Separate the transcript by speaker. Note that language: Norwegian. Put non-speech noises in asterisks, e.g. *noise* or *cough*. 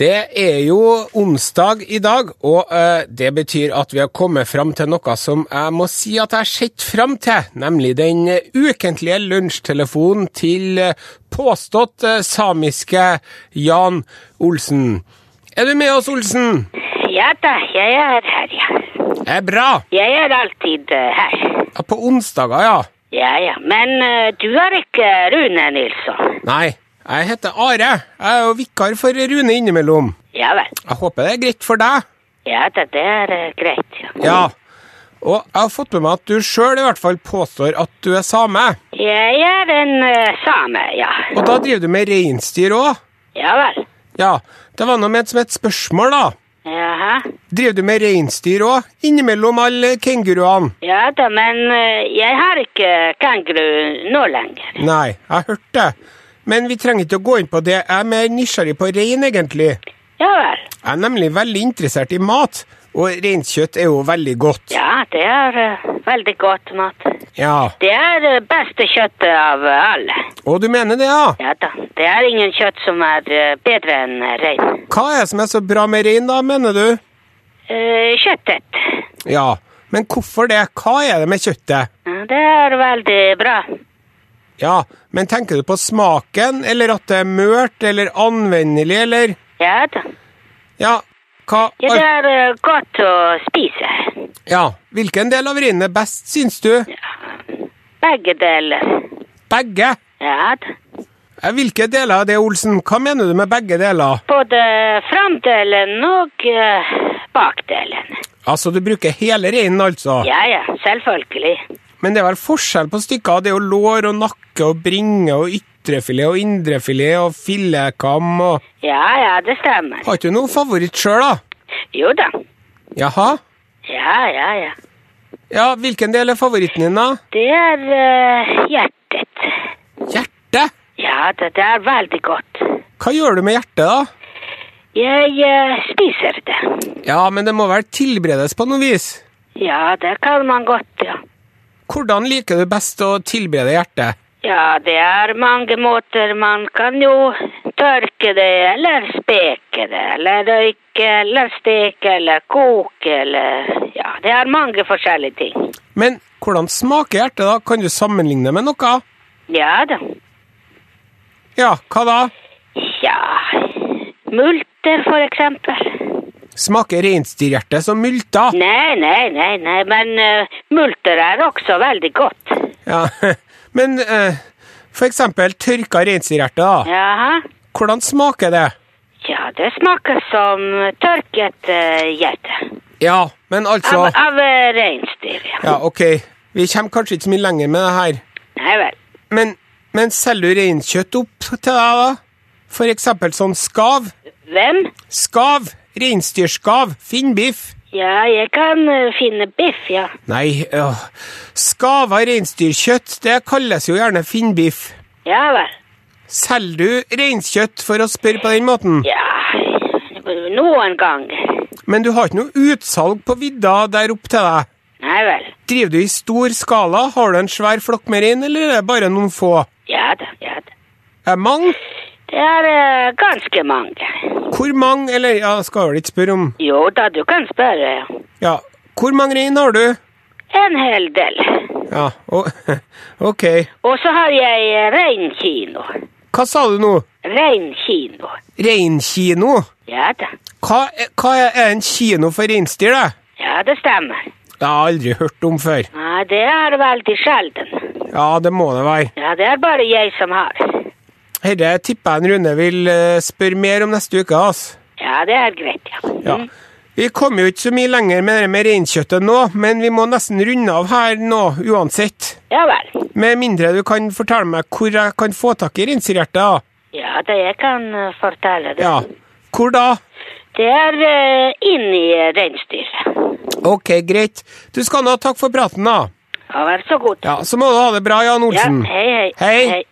Speaker 1: Det er jo onsdag i dag, og eh, det betyr at vi har kommet fram til noe som jeg må si at jeg har sett fram til, nemlig den eh, ukentlige lunsjtelefonen til eh, påstått eh, samiske Jan Olsen. Er du med oss, Olsen?
Speaker 2: Ja da, jeg er her, ja.
Speaker 1: Det er bra.
Speaker 2: Jeg er alltid eh, her.
Speaker 1: Ja, på onsdager, ja.
Speaker 2: Ja, ja. Men eh, du er ikke Rune Nilsson.
Speaker 1: Nei, jeg heter Are. Jeg er jo vikar for Rune innimellom.
Speaker 2: Ja vel.
Speaker 1: Jeg håper det er greit for deg.
Speaker 2: Ja da, det er eh, greit, ja.
Speaker 1: Ja. Og jeg har fått med meg at du sjøl i hvert fall påstår at du er same.
Speaker 2: Jeg er en eh, same, ja.
Speaker 1: Og da driver du med reinsdyr òg?
Speaker 2: Ja vel.
Speaker 1: Ja. Det var noe med et som et spørsmål, da.
Speaker 2: Jaha.
Speaker 1: Driver du med reinsdyr òg? Innimellom alle kenguruene?
Speaker 2: Ja da, men eh, jeg har ikke kanguru nå lenger.
Speaker 1: Nei, jeg hørte det. Men vi trenger ikke å gå inn på det. Jeg er mer nysgjerrig på rein, egentlig.
Speaker 2: Ja vel.
Speaker 1: Jeg er nemlig veldig interessert i mat, og reinkjøtt er jo veldig godt.
Speaker 2: Ja, det er eh, veldig godt mat.
Speaker 1: Ja.
Speaker 2: Det er det beste kjøttet av eh, alle.
Speaker 1: Og du mener det, ja?
Speaker 2: Ja da, det er ingen kjøtt som er eh, bedre enn eh, rein.
Speaker 1: Hva er det som er så bra med rein, da, mener du?
Speaker 2: Eh, Kjøttet.
Speaker 1: Ja, men hvorfor det? Hva er det med kjøttet?
Speaker 2: Ja, Det er veldig bra.
Speaker 1: Ja, men tenker du på smaken, eller at det er mørt, eller anvendelig, eller
Speaker 2: Ja da.
Speaker 1: Ja, hva
Speaker 2: Ja, det er eh, godt å spise.
Speaker 1: Ja, hvilken del av reinen er best, syns du?
Speaker 2: Begge deler.
Speaker 1: Begge?
Speaker 2: Ja da.
Speaker 1: Ja, Hvilke deler er det, Olsen? Hva mener du med begge deler?
Speaker 2: Både framdelen og eh, bakdelen.
Speaker 1: Altså, du bruker hele reinen, altså?
Speaker 2: Ja ja, selvfølgelig.
Speaker 1: Men det er vel forskjell på stykker? Det er jo lår og nakke og bringe og ytrefilet og indrefilet og filekam og
Speaker 2: Ja ja, det stemmer.
Speaker 1: Har ikke du noe favoritt sjøl, da?
Speaker 2: Jo da.
Speaker 1: Jaha?
Speaker 2: Ja ja ja.
Speaker 1: Ja, hvilken del er favoritten din, da?
Speaker 2: Det er eh, hjertet.
Speaker 1: Hjertet?
Speaker 2: Ja da, det er veldig godt.
Speaker 1: Hva gjør du med hjertet, da?
Speaker 2: Jeg eh, spiser det.
Speaker 1: Ja, men det må vel tilberedes på noe vis?
Speaker 2: Ja, det kan man godt, ja.
Speaker 1: Hvordan liker du best å tilberede hjertet?
Speaker 2: Ja, det er mange måter. Man kan jo tørke det, eller steke det, eller røyke, eller steke, eller koke, eller Ja, det er mange forskjellige ting.
Speaker 1: Men hvordan smaker hjertet, da? Kan du sammenligne med noe?
Speaker 2: Ja da.
Speaker 1: Ja, hva da?
Speaker 2: Ja Multer, for eksempel.
Speaker 1: Smaker reinsdyrhjerte som multer?
Speaker 2: Nei, nei, nei, nei, men eh, multer er også veldig godt.
Speaker 1: Ja, *laughs* men eh, for eksempel tørka reinsdyrhjerte, da.
Speaker 2: Jaha.
Speaker 1: Hvordan smaker det?
Speaker 2: Ja, det smaker som tørket eh, hjerte.
Speaker 1: Ja, men altså
Speaker 2: Av, av eh, reinsdyr, ja.
Speaker 1: Ja, ok, vi kommer kanskje ikke så mye lenger med det her.
Speaker 2: Nei vel.
Speaker 1: Men, men selger du reinkjøtt opp til deg, da? For eksempel sånn skav?
Speaker 2: Hvem?
Speaker 1: Skav! Reinsdyrskav! Finn biff!
Speaker 2: Ja, jeg kan eh, finne biff, ja.
Speaker 1: Nei, øh. skava reinsdyrkjøtt, det kalles jo gjerne finnbiff.
Speaker 2: Ja vel.
Speaker 1: Selger du reinskjøtt, for å spørre på den måten?
Speaker 2: Ja, noen ganger.
Speaker 1: Men du har ikke noe utsalg på vidda der opp til deg?
Speaker 2: Nei vel.
Speaker 1: Driver du i stor skala? Har du en svær flokk med rein, eller er det bare noen få?
Speaker 2: Ja da, ja da.
Speaker 1: Er det mange?
Speaker 2: Det er eh, ganske mange.
Speaker 1: Hvor mange, eller ja, skal vel ikke spørre om
Speaker 2: Jo da, du kan spørre. ja.
Speaker 1: Ja, hvor mange rein har du?
Speaker 2: En hel del.
Speaker 1: Ja, å, *laughs* ok.
Speaker 2: Og så har jeg eh, reinkino.
Speaker 1: Hva sa du nå?
Speaker 2: Reinkino.
Speaker 1: Reinkino?
Speaker 2: Ja da.
Speaker 1: Hva, er- hva er en kino for reinsdyr, det?
Speaker 2: Ja, det stemmer.
Speaker 1: Det har jeg aldri hørt om før.
Speaker 2: Ja, det er veldig sjelden.
Speaker 1: Ja, det må det være.
Speaker 2: Ja, det er bare jeg som har.
Speaker 1: Herre tipper jeg en Rune vil eh, spørre mer om neste uke. ass.
Speaker 2: Ja, det er greit, ja.
Speaker 1: Ja.
Speaker 2: Mm.
Speaker 1: Vi kommer jo ikke så mye lenger med det med reinkjøttet nå, men vi må nesten runde av her nå uansett.
Speaker 2: Ja vel.
Speaker 1: Med mindre du kan fortelle meg hvor jeg kan få tak i reinsdyrhjertet. da.
Speaker 2: Ja da, jeg kan eh, fortelle det.
Speaker 1: Ja. Hvor da?
Speaker 2: Det er eh, inni eh, reinsdyret.
Speaker 1: Ok, greit. Du skal nå ha takk for praten, da.
Speaker 2: Ja, vær så god.
Speaker 1: Ja, Så må du ha det bra, Jan Olsen.
Speaker 2: hei, hei.
Speaker 1: Hei.
Speaker 2: Hei.